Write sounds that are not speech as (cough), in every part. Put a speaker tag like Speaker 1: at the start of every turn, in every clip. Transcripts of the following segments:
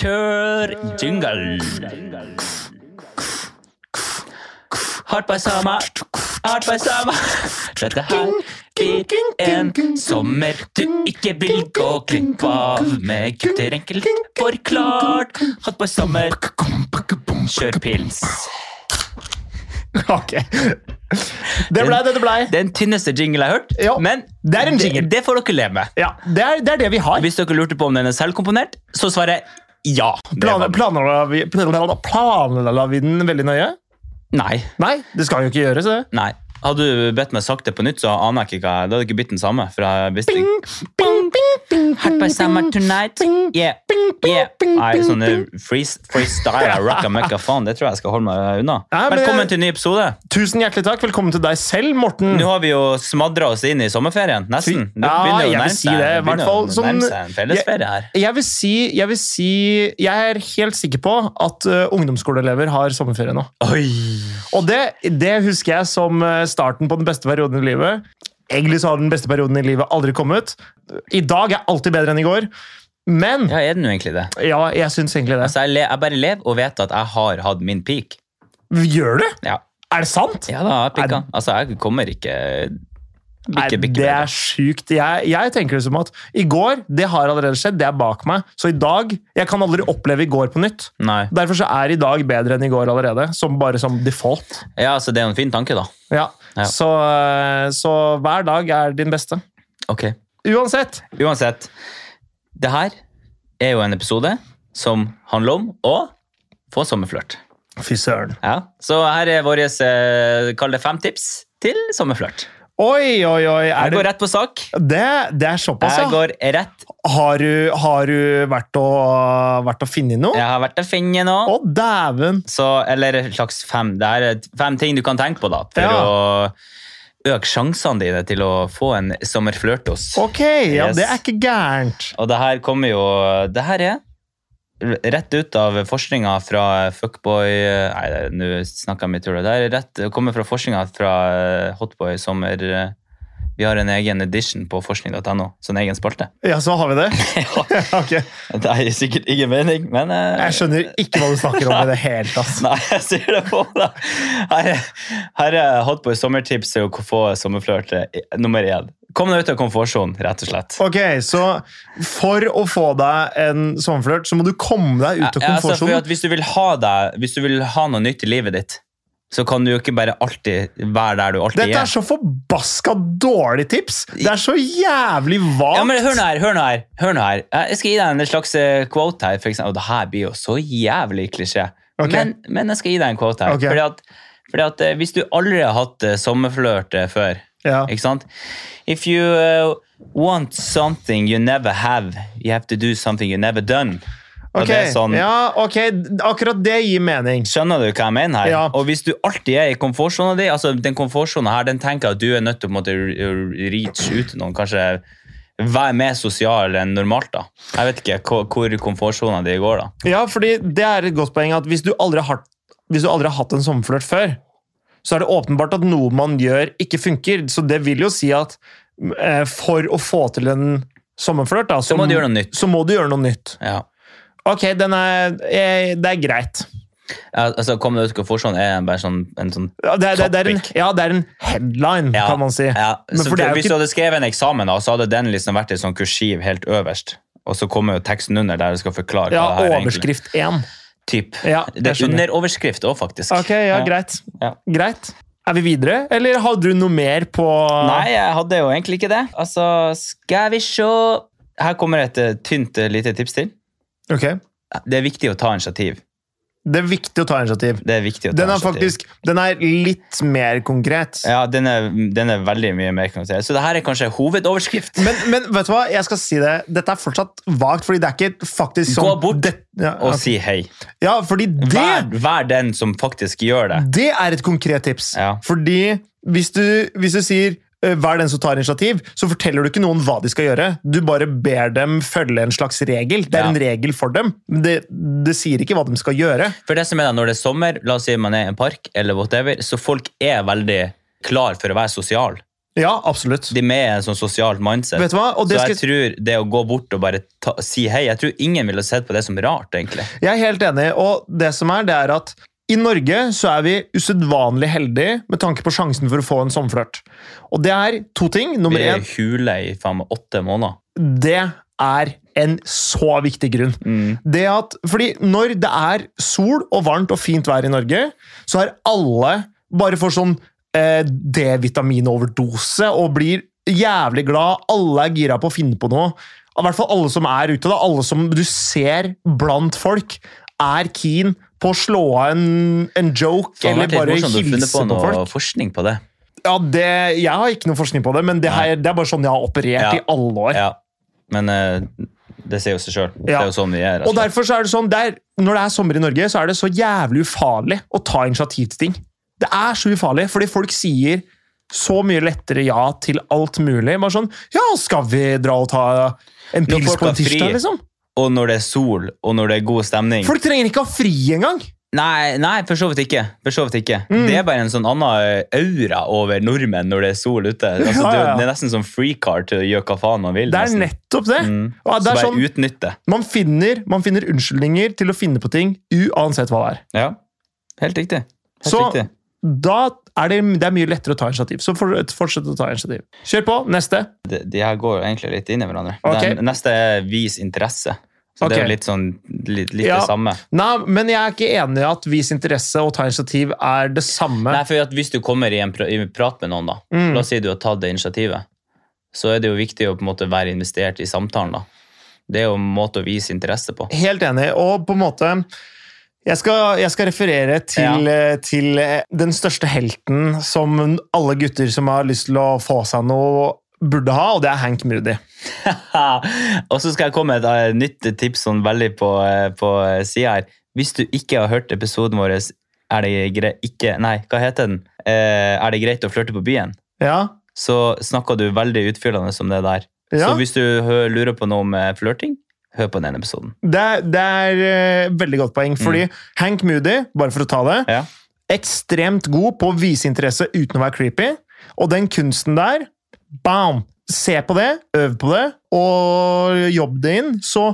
Speaker 1: Kjør jingle! Hardt bersama, hardt bersama. Dette her blir en sommer du ikke vil gå glipp av. Med gutter enkelt forklart. Hardt bersama, kjør pils.
Speaker 2: Ok. Det blei det det blei.
Speaker 1: Den tynneste jingle jeg har hørt,
Speaker 2: Ja.
Speaker 1: men
Speaker 2: Det er en jingle.
Speaker 1: det får dere leve med.
Speaker 2: Ja, det er, det er det vi har.
Speaker 1: Hvis dere lurte på om den er selvkomponert, så svarer jeg ja. Det var
Speaker 2: Planer-
Speaker 1: den.
Speaker 2: Planla vi, planla- planla vi den veldig nøye?
Speaker 1: Nei.
Speaker 2: Nei, det skal jo ikke gjøres, det.
Speaker 1: Nei. Hadde du bedt meg sagt det på nytt, så aner jeg ikke hva Da hadde jeg ikke blitt den samme. For jeg visste ikke.
Speaker 2: Bing, bing, bing,
Speaker 1: Hard by summer tonight. Yeah. Yeah. Nei, sånne freeze, freestyle rocka møkka faen, det tror jeg jeg skal holde meg unna.
Speaker 2: Nei, men-
Speaker 1: Velkommen til en ny episode.
Speaker 2: Tusen hjertelig takk. Velkommen til deg selv, Morten.
Speaker 1: Nå har vi jo smadra oss inn i sommerferien, nesten. Det
Speaker 2: Ja,
Speaker 1: begynner jo å
Speaker 2: jeg vil
Speaker 1: nærme
Speaker 2: si
Speaker 1: seg-
Speaker 2: det, i
Speaker 1: begynner
Speaker 2: hvert fall
Speaker 1: å
Speaker 2: sånn-
Speaker 1: nærme seg en fellesferie her.
Speaker 2: Jeg vil, si, jeg vil si Jeg er helt sikker på at eh, ungdomsskoleelever har sommerferie nå.
Speaker 1: Oi!
Speaker 2: Og det, det husker jeg som eh, starten på den beste perioden i livet. Egentlig så har den beste perioden i livet aldri kommet. I dag er alltid bedre enn i går. Men
Speaker 1: Ja, er den jo egentlig det?
Speaker 2: ja, jeg syns egentlig det.
Speaker 1: Altså, jeg, le, jeg bare lever og vet at jeg har hatt min peak.
Speaker 2: Gjør du?
Speaker 1: Ja,
Speaker 2: Er det sant?
Speaker 1: ja da, jeg pikka. Altså, jeg kommer ikke bikke,
Speaker 2: Nei,
Speaker 1: bikke
Speaker 2: det
Speaker 1: bedre.
Speaker 2: er sjukt. Jeg, jeg tenker det som at i går, det har allerede skjedd, det er bak meg. Så i dag Jeg kan aldri oppleve i går på nytt.
Speaker 1: Nei.
Speaker 2: Derfor så er i dag bedre enn i går allerede, som bare som default.
Speaker 1: Ja, altså, det er jo en fin tanke, da.
Speaker 2: Ja.
Speaker 1: Ja.
Speaker 2: Så, eh, så hver dag er din beste.
Speaker 1: Ok.
Speaker 2: Uansett.
Speaker 1: Uansett, det her er jo en episode som handler om å få sommerflørt.
Speaker 2: Fy søren.
Speaker 1: Ja. Så her er våre eh, kall det fem tips til sommerflørt.
Speaker 2: Oi, oi, oi. Er
Speaker 1: Jeg går
Speaker 2: det,
Speaker 1: rett på sak.
Speaker 2: det, det er såpass,
Speaker 1: Jeg
Speaker 2: ja.
Speaker 1: går rett.
Speaker 2: Har du, har du vært, å, vært å finne noe?
Speaker 1: Jeg har vært å finne nå.
Speaker 2: Å, dæven.
Speaker 1: Så, eller en slags fem. Det her er fem ting du kan tenke på da, for
Speaker 2: Ja.
Speaker 1: å øke sjansene dine til å få en sommerflørtos.
Speaker 2: Ok, ja,
Speaker 1: Yes.
Speaker 2: det er ikke gærent.
Speaker 1: Og det her kommer jo Det her er rett ut av forskninga fra Fuckboy Nei, det- nå snakker jeg mye tull. Det her er rett, det kommer fra forskninga fra eh, Hotboy Sommer. eh, Vi har en egen edition på forskning.no, så en egen spalte. (laughs)
Speaker 2: Ja, så har vi det. (laughs)
Speaker 1: Ja,
Speaker 2: Ok.
Speaker 1: det er sikkert ingen mening, men eh,
Speaker 2: Jeg skjønner ikke hva du snakker om i det hele tatt.
Speaker 1: Nei, jeg ser det på deg. Her, er- her er Hotboy sommertips til å få sommerflørt eh, nummer én. Kom deg ut av komfortsonen, rett og slett.
Speaker 2: Ok, så for å få deg en sommerflørt, så må du komme deg
Speaker 1: Ja,
Speaker 2: ut av
Speaker 1: altså, for at
Speaker 2: komfortsonen.
Speaker 1: hvis, du vil ha deg, hvis du vil ha noe nytt i livet ditt, så kan du jo ikke bare alltid være der du alltid
Speaker 2: Dette er
Speaker 1: er.
Speaker 2: så forbaska dårlig tips! Det er så jævlig
Speaker 1: Ja, men Hør
Speaker 2: vagt!
Speaker 1: nå her, hør nå her. hør nå her. Jeg skal gi deg en slags eh, quote her. For eksempel. Og det her blir jo så jævlig klisjé.
Speaker 2: Ok.
Speaker 1: Men, men jeg skal gi deg en quote her.
Speaker 2: Ok.
Speaker 1: Fordi at, fordi at eh, hvis du aldri har hatt eh, sommerflørt eh, før
Speaker 2: Ja.
Speaker 1: Ikke sant? If you uh, want something you never have, you have to do something you never done. Og
Speaker 2: Ok,
Speaker 1: det er sånn,
Speaker 2: ja, ok, akkurat det gir mening.
Speaker 1: Skjønner du hva jeg mener her?
Speaker 2: Ja.
Speaker 1: Og hvis du alltid er i komfortsona di, altså den komfortsona her, den tenker jeg at du er nødt til å måtte reach ut til noen, kanskje være mer sosial enn normalt da. Jeg vet ikke hvor- hvor komfortsona di går da.
Speaker 2: Ja, fordi det er et godt poeng at hvis du aldri har, hvis du aldri har hatt en sommerflørt før, så er det åpenbart at noe man gjør, ikke funker. Så det vil jo si at eh, for å få til en sommerflørt, da,
Speaker 1: Så må du gjøre noe nytt.
Speaker 2: Så må du gjøre noe nytt.
Speaker 1: Ja.
Speaker 2: Ok, den er, eh, det er greit.
Speaker 1: Ja, Altså, kom deg ut i komfortsona er bare sånn, en sånn
Speaker 2: Ja, Det er, det, er- det er en,
Speaker 1: Topic.
Speaker 2: ja, det er en headline,
Speaker 1: Ja,
Speaker 2: kan man si.
Speaker 1: Ja.
Speaker 2: Men
Speaker 1: Så
Speaker 2: for det er jo
Speaker 1: hvis
Speaker 2: ikke-
Speaker 1: du hadde skrevet en eksamen, da, så hadde den liksom vært et sånn kursiv helt øverst. Og så kommer jo teksten under der du skal forklare
Speaker 2: Ja,
Speaker 1: hva det her egentlig
Speaker 2: overskrift én.
Speaker 1: Typ.
Speaker 2: Ja,
Speaker 1: Det
Speaker 2: jeg
Speaker 1: er
Speaker 2: skjønner.
Speaker 1: under overskrift òg, faktisk.
Speaker 2: Ok, ja, greit.
Speaker 1: Ja.
Speaker 2: Greit. Er vi videre, eller har du noe mer på
Speaker 1: Nei, jeg hadde jo egentlig ikke det. Altså, skal vi sjå Her kommer et eh, tynt eh, lite tips til.
Speaker 2: Ok.
Speaker 1: Det er viktig å ta initiativ.
Speaker 2: Det er viktig å ta initiativ.
Speaker 1: Det er viktig å ta
Speaker 2: Den er
Speaker 1: initiativ.
Speaker 2: faktisk den er litt mer konkret.
Speaker 1: Ja, den er, den er veldig mye mer konkret. Så det her er kanskje hovedoverskrift.
Speaker 2: Men, men vet du hva, jeg skal si det. Dette er fortsatt vagt, fordi det er ikke faktisk sånn
Speaker 1: Gå bort
Speaker 2: det, ja,
Speaker 1: Og
Speaker 2: ok.
Speaker 1: si hei.
Speaker 2: Ja, fordi
Speaker 1: Vær,
Speaker 2: det,
Speaker 1: vær den som faktisk gjør det.
Speaker 2: det er et konkret tips.
Speaker 1: Ja.
Speaker 2: Fordi hvis du, hvis du sier eh, Vær den som tar initiativ, så forteller du ikke noen hva de skal gjøre. Du bare ber dem følge en slags regel. Det er
Speaker 1: Ja.
Speaker 2: en regel for dem. men Det, det sier ikke hva de skal gjøre.
Speaker 1: For det som er da, når det er sommer, la oss si man er i en park, eller whatever, så folk er veldig klar for å være sosial.
Speaker 2: Ja, absolutt.
Speaker 1: De er med i en sånn sosialt mindset.
Speaker 2: Vet du hva? Og
Speaker 1: Så
Speaker 2: det
Speaker 1: jeg
Speaker 2: skal,
Speaker 1: tror det å gå bort og bare ta, si hei Jeg tror ingen ville sett på det som rart, egentlig.
Speaker 2: jeg er helt enig, og det som er, det er at i Norge så er vi usedvanlig heldige med tanke på sjansen for å få en sommerflørt. Og det er to ting. Nummer
Speaker 1: Vi er
Speaker 2: én,
Speaker 1: i hule i faen meg åtte måneder.
Speaker 2: det er en så viktig grunn. Det at, fordi når det er sol og varmt og fint vær i Norge, så er alle bare for sånn eh, D-vitaminoverdose og blir jævlig glad. Alle er gira på å finne på noe. I hvert fall alle som er ute, da. Alle som du ser blant folk, er keen på å slå av en, en joke
Speaker 1: Faen,
Speaker 2: eller
Speaker 1: det har vært
Speaker 2: bare
Speaker 1: litt morsomt å finne
Speaker 2: hilse
Speaker 1: på
Speaker 2: på,
Speaker 1: noe
Speaker 2: folk.
Speaker 1: forskning på det.
Speaker 2: Ja, det, jeg har ikke noe forskning på det, men det, her, det er bare sånn jeg har operert
Speaker 1: Ja.
Speaker 2: i alle år.
Speaker 1: Ja. Men eh, det sier jo seg sjøl. Det
Speaker 2: Ja.
Speaker 1: er jo sånn vi er.
Speaker 2: Og derfor så er det sånn, det er- Når det er sommer i Norge, så er det så jævlig ufarlig å ta initiativ til ting. Det er så ufarlig, fordi folk sier så mye lettere ja til alt mulig. Bare sånn Ja, skal vi dra og ta en
Speaker 1: Når
Speaker 2: pils
Speaker 1: folk
Speaker 2: på en
Speaker 1: har fri.
Speaker 2: tirsdag, liksom?
Speaker 1: Og når det er sol, og når det er god stemning
Speaker 2: Folk trenger ikke ha fri engang!
Speaker 1: Nei, nei, for så vidt ikke. For så vidt ikke.
Speaker 2: Mm.
Speaker 1: Det er bare en sånn annen aura over nordmenn når det er sol ute. Altså,
Speaker 2: (laughs) Ja,
Speaker 1: det, er
Speaker 2: ja, ja.
Speaker 1: jo- det er nesten som free car til å gjøre hva faen man vil.
Speaker 2: Det er
Speaker 1: nesten.
Speaker 2: nettopp det.
Speaker 1: Mm.
Speaker 2: Og det
Speaker 1: Så
Speaker 2: er
Speaker 1: bare
Speaker 2: sånn,
Speaker 1: utnytte.
Speaker 2: man, finner, man finner unnskyldninger til å finne på ting uansett hva det er.
Speaker 1: Ja, helt riktig. Helt
Speaker 2: Så-
Speaker 1: riktig.
Speaker 2: Da er det, det er mye lettere å ta initiativ. Så for- fortsett å ta initiativ. Kjør på. Neste.
Speaker 1: De, de her går jo egentlig litt inn i hverandre.
Speaker 2: Ok.
Speaker 1: Den neste er vis interesse. Så det
Speaker 2: Ok.
Speaker 1: er jo litt sånn litt, litt
Speaker 2: Ja.
Speaker 1: det samme.
Speaker 2: Nei, men jeg er ikke enig i at vis interesse og ta initiativ er det samme.
Speaker 1: Nei, for at hvis du kommer i en, pra i en prat med noen, da,
Speaker 2: Mm.
Speaker 1: la oss si du har tatt det initiativet, så er det jo viktig å på en måte være investert i samtalen. da. Det er jo en måte å vise interesse
Speaker 2: (laughs)
Speaker 1: på.
Speaker 2: Helt enig, og på en måte jeg skal, jeg skal referere til, eh, til eh, den største helten som alle gutter som har lyst til å få seg noe, burde ha, og det er Hank Moody.
Speaker 1: og så skal jeg komme med et eh, nytt tips sånn veldig på, eh, på sida her. Hvis du ikke har hørt episoden vår, er det gre ikke Nei, hva heter den? Eh, er det greit å flørte på byen?
Speaker 2: Ja,
Speaker 1: Så snakker du veldig utfyllende om det der.
Speaker 2: ja.
Speaker 1: Så hvis du hø- lurer på noe om eh, flørting, hør på den episoden.
Speaker 2: Det, er- det er eh, veldig godt poeng, fordi Hank Moody, bare for å ta det,
Speaker 1: Mm. Ja.
Speaker 2: ekstremt god på å vise interesse uten å være creepy, og den kunsten der, bam! Se på det, øv på det, og jobb det inn. Så,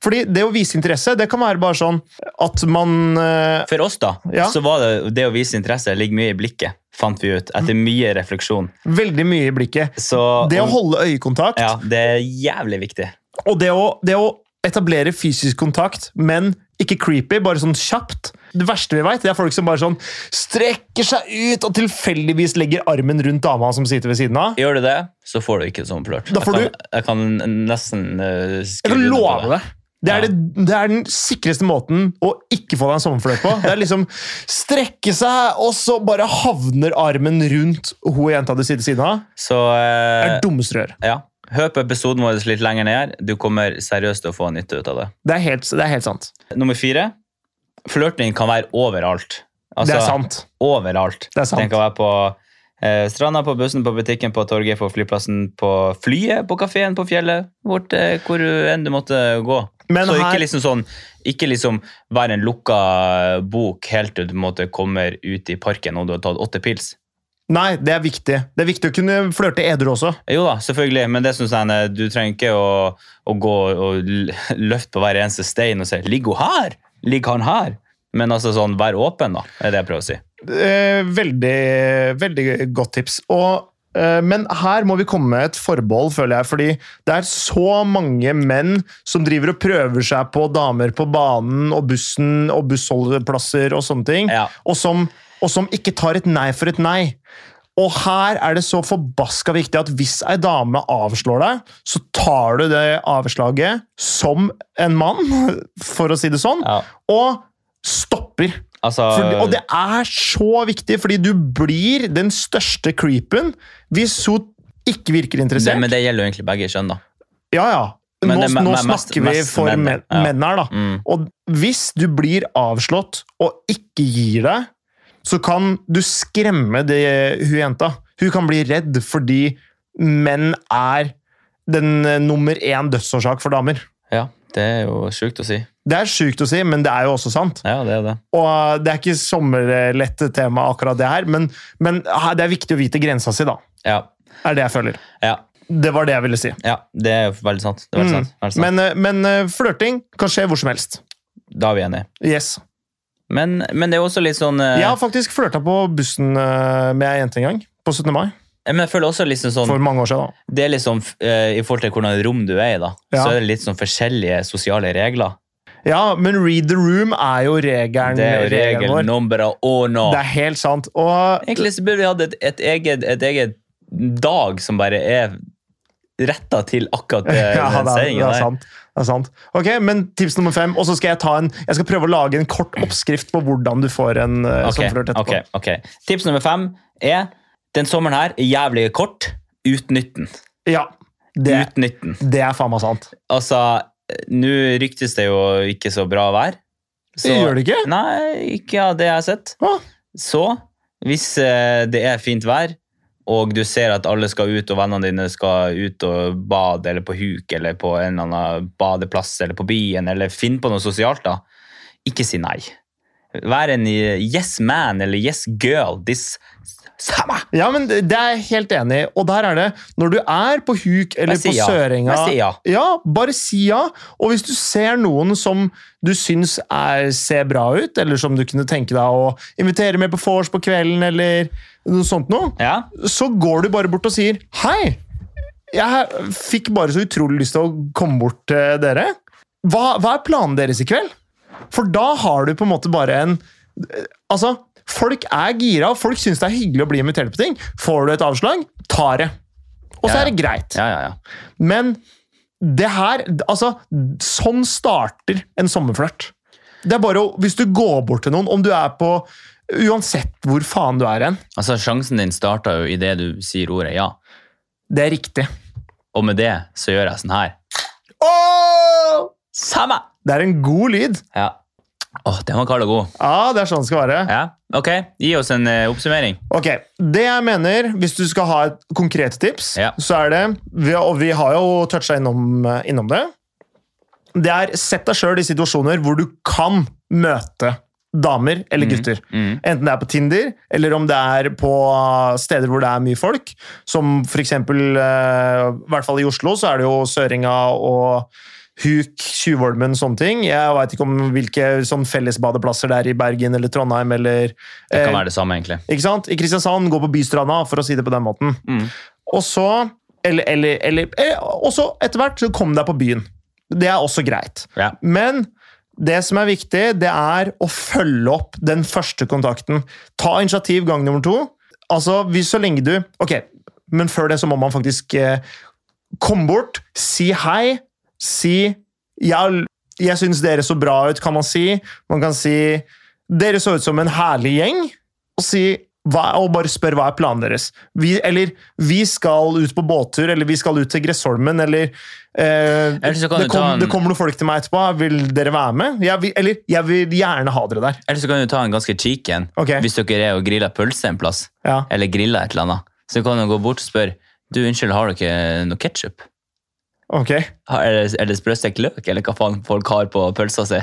Speaker 2: fordi det å vise interesse, det kan være bare sånn at man eh,
Speaker 1: For oss, da,
Speaker 2: Ja.
Speaker 1: så var det det å vise interesse ligger mye i blikket, fant vi ut. Etter mye refleksjon.
Speaker 2: Veldig mye i blikket.
Speaker 1: Så
Speaker 2: Mm. Det å
Speaker 1: om-
Speaker 2: holde øyekontakt,
Speaker 1: Ja, det er jævlig viktig.
Speaker 2: og det å, det å etablere fysisk kontakt, men ikke creepy, bare sånn kjapt. Det verste vi veit, er folk som bare sånn strekker seg ut og tilfeldigvis legger armen rundt dama som sitter ved siden av.
Speaker 1: Gjør du det, så får du ikke sånn flørt.
Speaker 2: Da får
Speaker 1: jeg, kan- jeg kan nesten uh,
Speaker 2: Jeg kan love det. Det
Speaker 1: Ja.
Speaker 2: er, det, det er den sikreste måten å ikke få deg en sommerflørt på. Det er liksom strekke seg, og så bare havner armen rundt hun jenta du sitter ved siden av.
Speaker 1: Så
Speaker 2: Det er
Speaker 1: eh,
Speaker 2: dummeste du gjør.
Speaker 1: ja. Hør på episoden vår litt lenger ned. her. Du kommer seriøst til å få nytte ut av det.
Speaker 2: Det er helt, det er helt sant.
Speaker 1: Nummer fire. Flørting kan være overalt.
Speaker 2: det
Speaker 1: Altså,
Speaker 2: er sant.
Speaker 1: overalt.
Speaker 2: Det er sant.
Speaker 1: Den kan være på eh, stranda, på bussen, på butikken, på torget, på flyplassen, på flyet, på kafeen, på fjellet. Hvor, eh, hvor du enn du måtte gå.
Speaker 2: Men
Speaker 1: Så
Speaker 2: her-
Speaker 1: ikke liksom sånn Ikke liksom være en lukka bok helt til du på en måte kommer ut i parken og du har tatt åtte pils.
Speaker 2: Nei, det er viktig. Det er viktig å kunne flørte edru også.
Speaker 1: Jo da, selvfølgelig, men det synes jeg eh, du trenger ikke å, å gå og l- løfte på hver eneste stein og si 'ligger hun her?' 'Ligger han her?' Men altså sånn, vær åpen, da, er det jeg prøver å si.
Speaker 2: Eh, veldig, veldig godt tips. Og, eh, men her må vi komme med et forbehold, føler jeg. Fordi det er så mange menn som driver og prøver seg på damer på banen og bussen og bussholdeplasser og sånne ting.
Speaker 1: Ja.
Speaker 2: Og, som, og som ikke tar et nei for et nei. Og her er det så forbaska viktig at hvis ei dame avslår deg, så tar du det avslaget som en mann, (laughs) for å si det sånn,
Speaker 1: Ja.
Speaker 2: og stopper.
Speaker 1: Altså,
Speaker 2: For, og det er så viktig, fordi du blir den største creepen hvis hun ikke virker
Speaker 1: det,
Speaker 2: interessert.
Speaker 1: men det gjelder jo egentlig begge kjønn, da.
Speaker 2: ja, ja. Nå,
Speaker 1: Men det er me-
Speaker 2: nå
Speaker 1: me- mest-
Speaker 2: snakker vi
Speaker 1: mest
Speaker 2: for
Speaker 1: menn,
Speaker 2: menn,
Speaker 1: ja.
Speaker 2: menn her, da.
Speaker 1: Mm.
Speaker 2: Og hvis du blir avslått og ikke gir deg, så kan du skremme det, hun jenta. Hun kan bli redd fordi menn er den eh, nummer én dødsårsak for damer.
Speaker 1: Ja, det er jo sjukt å si.
Speaker 2: Det er sjukt å si, men det er jo også sant.
Speaker 1: Ja, det er det.
Speaker 2: Og det er ikke sommerlette tema akkurat det her, men, men her- det er viktig å vite grensa si, da.
Speaker 1: Ja.
Speaker 2: er det jeg føler.
Speaker 1: Ja,
Speaker 2: Det var det jeg ville si.
Speaker 1: ja det er veldig sant. Det er veldig sant. Veldig sant.
Speaker 2: Men, eh, men eh, flørting kan skje hvor som helst.
Speaker 1: da er vi enige.
Speaker 2: Yes.
Speaker 1: Men, men det er også litt sånn eh,
Speaker 2: Jeg har faktisk flørta på bussen eh, med ei jente en gang. På 17. mai.
Speaker 1: Men jeg føler også litt sånn
Speaker 2: For mange år siden. da.
Speaker 1: Det er litt sånn eh, I forhold til hvordan rom du er i, da,
Speaker 2: Ja.
Speaker 1: så er det litt sånn forskjellige sosiale regler.
Speaker 2: Ja, men read the room er jo regelen,
Speaker 1: Det er jo
Speaker 2: regelen
Speaker 1: regel
Speaker 2: vår.
Speaker 1: number og nå.
Speaker 2: Det er helt sant. Og
Speaker 1: Egentlig så burde vi hatt et, et, eget, et eget dag som bare er retta til akkurat det.
Speaker 2: (laughs)
Speaker 1: den
Speaker 2: ja, det er, det
Speaker 1: sendingen
Speaker 2: er
Speaker 1: der.
Speaker 2: sant. Det er sant. Ok, men tips nummer fem. Og så skal jeg, ta en, jeg skal prøve å lage en kort oppskrift på hvordan du får en eh,
Speaker 1: Ok,
Speaker 2: sånn flørt etterpå.
Speaker 1: ok, ok. Tips nummer fem er den sommeren her er jævlig kort. Utnytt den.
Speaker 2: Ja, det,
Speaker 1: Utnytt den.
Speaker 2: det er faen meg sant.
Speaker 1: Altså, nå ryktes det jo ikke så bra vær. Så-
Speaker 2: Det gjør det ikke?
Speaker 1: Nei, ikke av det jeg har sett.
Speaker 2: Å,
Speaker 1: Så, hvis eh, det er fint vær, og du ser at alle skal ut, og vennene dine skal ut og bade, eller på huk, eller på en eller annen badeplass, eller på byen, eller finn på noe sosialt, da, ikke si nei. Vær en eh, yes man, eller yes girl, this samme.
Speaker 2: Ja, men det det er jeg helt enig i. Og der er det, når du er på huk eller
Speaker 1: Jeg sier
Speaker 2: på
Speaker 1: ja.
Speaker 2: Sørenga
Speaker 1: Jeg sier ja.
Speaker 2: bare si ja. Og hvis du ser noen som du syns er, ser bra ut, eller som du kunne tenke deg å invitere med på vors på kvelden, eller noe sånt noe,
Speaker 1: Ja,
Speaker 2: så går du bare bort og sier hei. Jeg fikk bare så utrolig lyst til å komme bort til dere. Hva, hva er planen deres i kveld? For da har du på en måte bare en Altså, folk er gira, og folk syns det er hyggelig å bli invitert på ting. Får du et avslag, tar det. Og så
Speaker 1: Ja, ja.
Speaker 2: er det greit.
Speaker 1: ja, ja. ja.
Speaker 2: Men det her Altså, sånn starter en sommerflørt. Det er bare å Hvis du går bort til noen, om du er på Uansett hvor faen du er hen,
Speaker 1: Altså, sjansen din starter jo i det du sier ordet ja.
Speaker 2: det er riktig.
Speaker 1: Og med det så gjør jeg sånn her.
Speaker 2: Åh!
Speaker 1: Samme!
Speaker 2: Det er en god lyd.
Speaker 1: Ja. Åh, den var kald og god.
Speaker 2: Ja, det er sånn det skal være.
Speaker 1: Ja, ok. Gi oss en eh, oppsummering.
Speaker 2: Ok, Det jeg mener, hvis du skal ha et konkret tips,
Speaker 1: Ja.
Speaker 2: så er det vi- Og vi har jo toucha innom, eh, innom det. Det er sett deg sjøl i situasjoner hvor du kan møte damer eller gutter.
Speaker 1: Mm.
Speaker 2: Enten det er på Tinder, eller om det er på steder hvor det er mye folk. Som for eksempel, eh, i hvert fall i Oslo, så er det jo Søringa og Huk, Tjuvholmen, sånne ting. Jeg veit ikke om hvilke sånn fellesbadeplasser det er i Bergen eller Trondheim eller
Speaker 1: Det
Speaker 2: eh,
Speaker 1: kan være det samme, egentlig.
Speaker 2: ikke sant? I Kristiansand, gå på Bystranda, for å si det på den måten.
Speaker 1: Mm.
Speaker 2: Og så eller, eller, eller, eh, Og så etter hvert så kom deg på byen. Det er også greit.
Speaker 1: Ja.
Speaker 2: Men det som er viktig, det er å følge opp den første kontakten. Ta initiativ gang nummer to. Altså, hvis så lenge du Ok, men før det så må man faktisk eh, komme bort, si hei, si jeg, jeg syns dere så bra ut, kan man si. Man kan si Dere så ut som en herlig gjeng. Og, si, hva, og bare spør hva er planen deres. Vi, eller vi skal ut på båttur, eller vi skal ut til Gressholmen, eller eh,
Speaker 1: Eller så kan
Speaker 2: det,
Speaker 1: du ta
Speaker 2: kom,
Speaker 1: en-
Speaker 2: det kommer noen folk til meg etterpå. Vil dere være med? Jeg vil, eller jeg vil gjerne ha dere der.
Speaker 1: Eller så kan du ta en ganske cheek en.
Speaker 2: Ok,
Speaker 1: Hvis dere er og griller pølse en plass,
Speaker 2: ja.
Speaker 1: eller griller et eller annet, så kan du gå bort og spørre du, unnskyld, har dere noe ketsjup?
Speaker 2: ok.
Speaker 1: Er det, er det sprøstekt løk, eller hva faen folk har på pølsa si?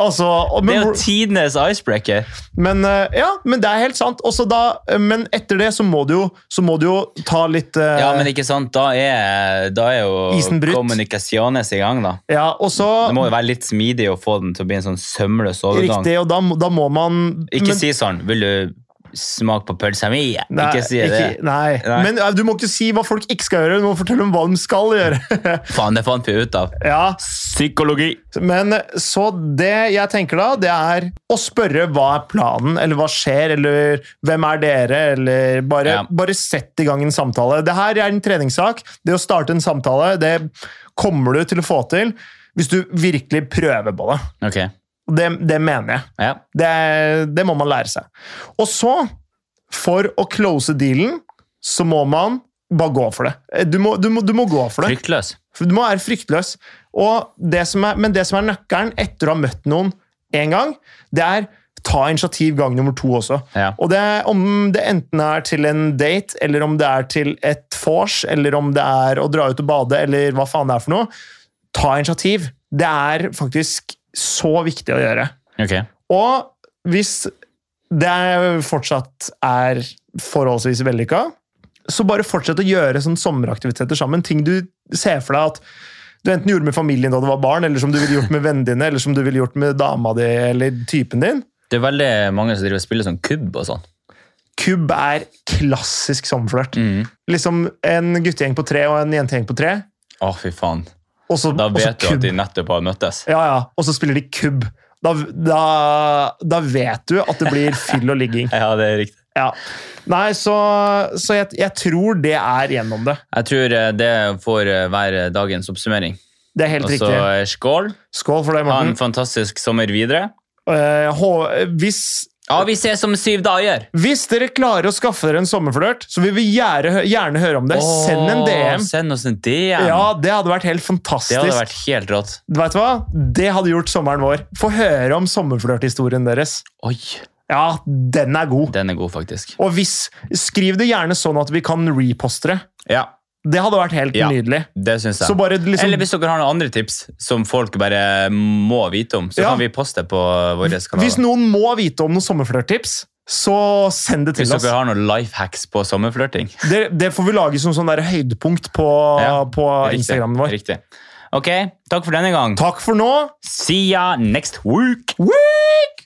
Speaker 2: Altså,
Speaker 1: Det
Speaker 2: og-
Speaker 1: er
Speaker 2: men,
Speaker 1: jo
Speaker 2: hvor-
Speaker 1: tidenes icebreaker.
Speaker 2: men, eh, ja, men det er helt sant. Også da, eh, men etter det så må du jo, så må du jo ta litt eh,
Speaker 1: Ja, men ikke sant, da er, da er
Speaker 2: Isen brutt.
Speaker 1: jo kommunikasjones i gang, da.
Speaker 2: ja, og så
Speaker 1: Det må jo være litt smidig å få den til å bli en sånn sømløs overgang.
Speaker 2: Riktig, og da, må- da må man
Speaker 1: Ikke
Speaker 2: men-
Speaker 1: si sånn, vil du smake på pølsa mi? Ikke si det.
Speaker 2: ikke- nei.
Speaker 1: Nei.
Speaker 2: Men eh, du må ikke si hva folk ikke skal gjøre, du må fortelle om hva de skal gjøre. (laughs)
Speaker 1: Faen, det fant vi ut av.
Speaker 2: ja,
Speaker 1: Psykologi.
Speaker 2: Men så det jeg tenker da, det er å spørre hva er planen, eller hva skjer, eller hvem er dere, eller bare,
Speaker 1: Ja.
Speaker 2: bare sett i gang en samtale. Det her er en treningssak. Det å starte en samtale, det kommer du til å få til hvis du virkelig prøver på det.
Speaker 1: Ok,
Speaker 2: Og Det, det mener jeg.
Speaker 1: ja.
Speaker 2: Det, det må man lære seg. Og så, for å close dealen, så må man bare gå for det. Du må, du må, du må gå for det.
Speaker 1: Fryktløs.
Speaker 2: For du må være fryktløs. Og det som er, men det som er nøkkelen etter å ha møtt noen én gang, det er ta initiativ gang nummer to også.
Speaker 1: Ja.
Speaker 2: Og det, om det enten er til en date, eller om det er til et vors, eller om det er å dra ut og bade, eller hva faen det er for noe, ta initiativ. Det er faktisk så viktig å gjøre.
Speaker 1: Ok.
Speaker 2: Og hvis det fortsatt er forholdsvis vellykka, så bare fortsett å gjøre sånn sommeraktiviteter sammen. Ting du ser for deg at du enten gjorde med familien da du var barn, eller som du ville gjort med vennene dine, eller som du ville gjort med dama di eller typen din.
Speaker 1: Det er veldig mange som driver og spiller sånn kubb og sånn.
Speaker 2: Kubb er klassisk sommerflørt.
Speaker 1: Mm.
Speaker 2: Liksom en guttegjeng på tre og en jentegjeng på tre.
Speaker 1: Å, fy faen.
Speaker 2: Og så,
Speaker 1: Da
Speaker 2: og
Speaker 1: vet
Speaker 2: så
Speaker 1: du at
Speaker 2: kubb.
Speaker 1: de nettopp har møttes.
Speaker 2: Ja, ja. Og så spiller de kubb. Da, da, da vet du at det blir fyll og ligging.
Speaker 1: Ja, det er riktig.
Speaker 2: Ja. Nei, så, så jeg, jeg tror det er gjennom det.
Speaker 1: Jeg tror eh, det får eh, være dagens oppsummering.
Speaker 2: Det er helt
Speaker 1: Og så
Speaker 2: riktig. Mm.
Speaker 1: eh, skål.
Speaker 2: Skål for det,
Speaker 1: Ha en
Speaker 2: Morten.
Speaker 1: fantastisk sommer videre.
Speaker 2: Eh, hå- hvis,
Speaker 1: Ja, vi ses om syv dager!
Speaker 2: hvis dere klarer å skaffe dere en sommerflørt, så vil vi gjerne, gjerne høre om det. Send en
Speaker 1: Åh,
Speaker 2: DM.
Speaker 1: Send oss en DM.
Speaker 2: Ja, det hadde vært helt fantastisk.
Speaker 1: det hadde vært helt rått.
Speaker 2: Vet du hva? Det hadde gjort sommeren vår. Få høre om sommerflørthistorien deres.
Speaker 1: Oi,
Speaker 2: Ja, den er god.
Speaker 1: den er god, faktisk.
Speaker 2: Og hvis, skriv det gjerne sånn at vi kan reposte det.
Speaker 1: Ja,
Speaker 2: Det hadde vært helt
Speaker 1: Ja.
Speaker 2: nydelig.
Speaker 1: det syns jeg.
Speaker 2: Så bare liksom
Speaker 1: Eller hvis dere har noen andre tips som folk bare må vite om, så
Speaker 2: Ja.
Speaker 1: kan vi poste på våre kanaler.
Speaker 2: Hvis noen må vite om noen sommerflørttips, så send det
Speaker 1: Hvis
Speaker 2: til oss.
Speaker 1: dere har noen life hacks på sommerflørting.
Speaker 2: Det, det får vi lage som sånn der høydepunkt på,
Speaker 1: Ja,
Speaker 2: på Instagramen vår.
Speaker 1: Riktig. Ok, takk for denne gang.
Speaker 2: Takk for nå.
Speaker 1: See ya next week!
Speaker 2: Week!